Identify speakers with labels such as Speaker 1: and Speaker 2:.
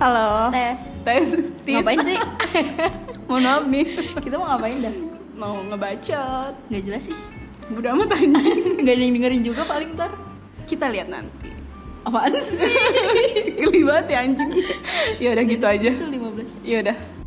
Speaker 1: Halo.
Speaker 2: tes
Speaker 1: Tes. Tis.
Speaker 2: ngapain sih
Speaker 1: Mohon maaf nih.
Speaker 2: kita mau ngapain dah
Speaker 1: Mau ngebacot.
Speaker 2: nggak jelas sih
Speaker 1: Udah amat anjing.
Speaker 2: nggak ada yang dengerin juga paling ntar
Speaker 1: Kita lihat nanti.
Speaker 2: apaan sih
Speaker 1: Geli banget ya anjing. Ya udah gitu aja.
Speaker 2: itu 15
Speaker 1: Ya udah.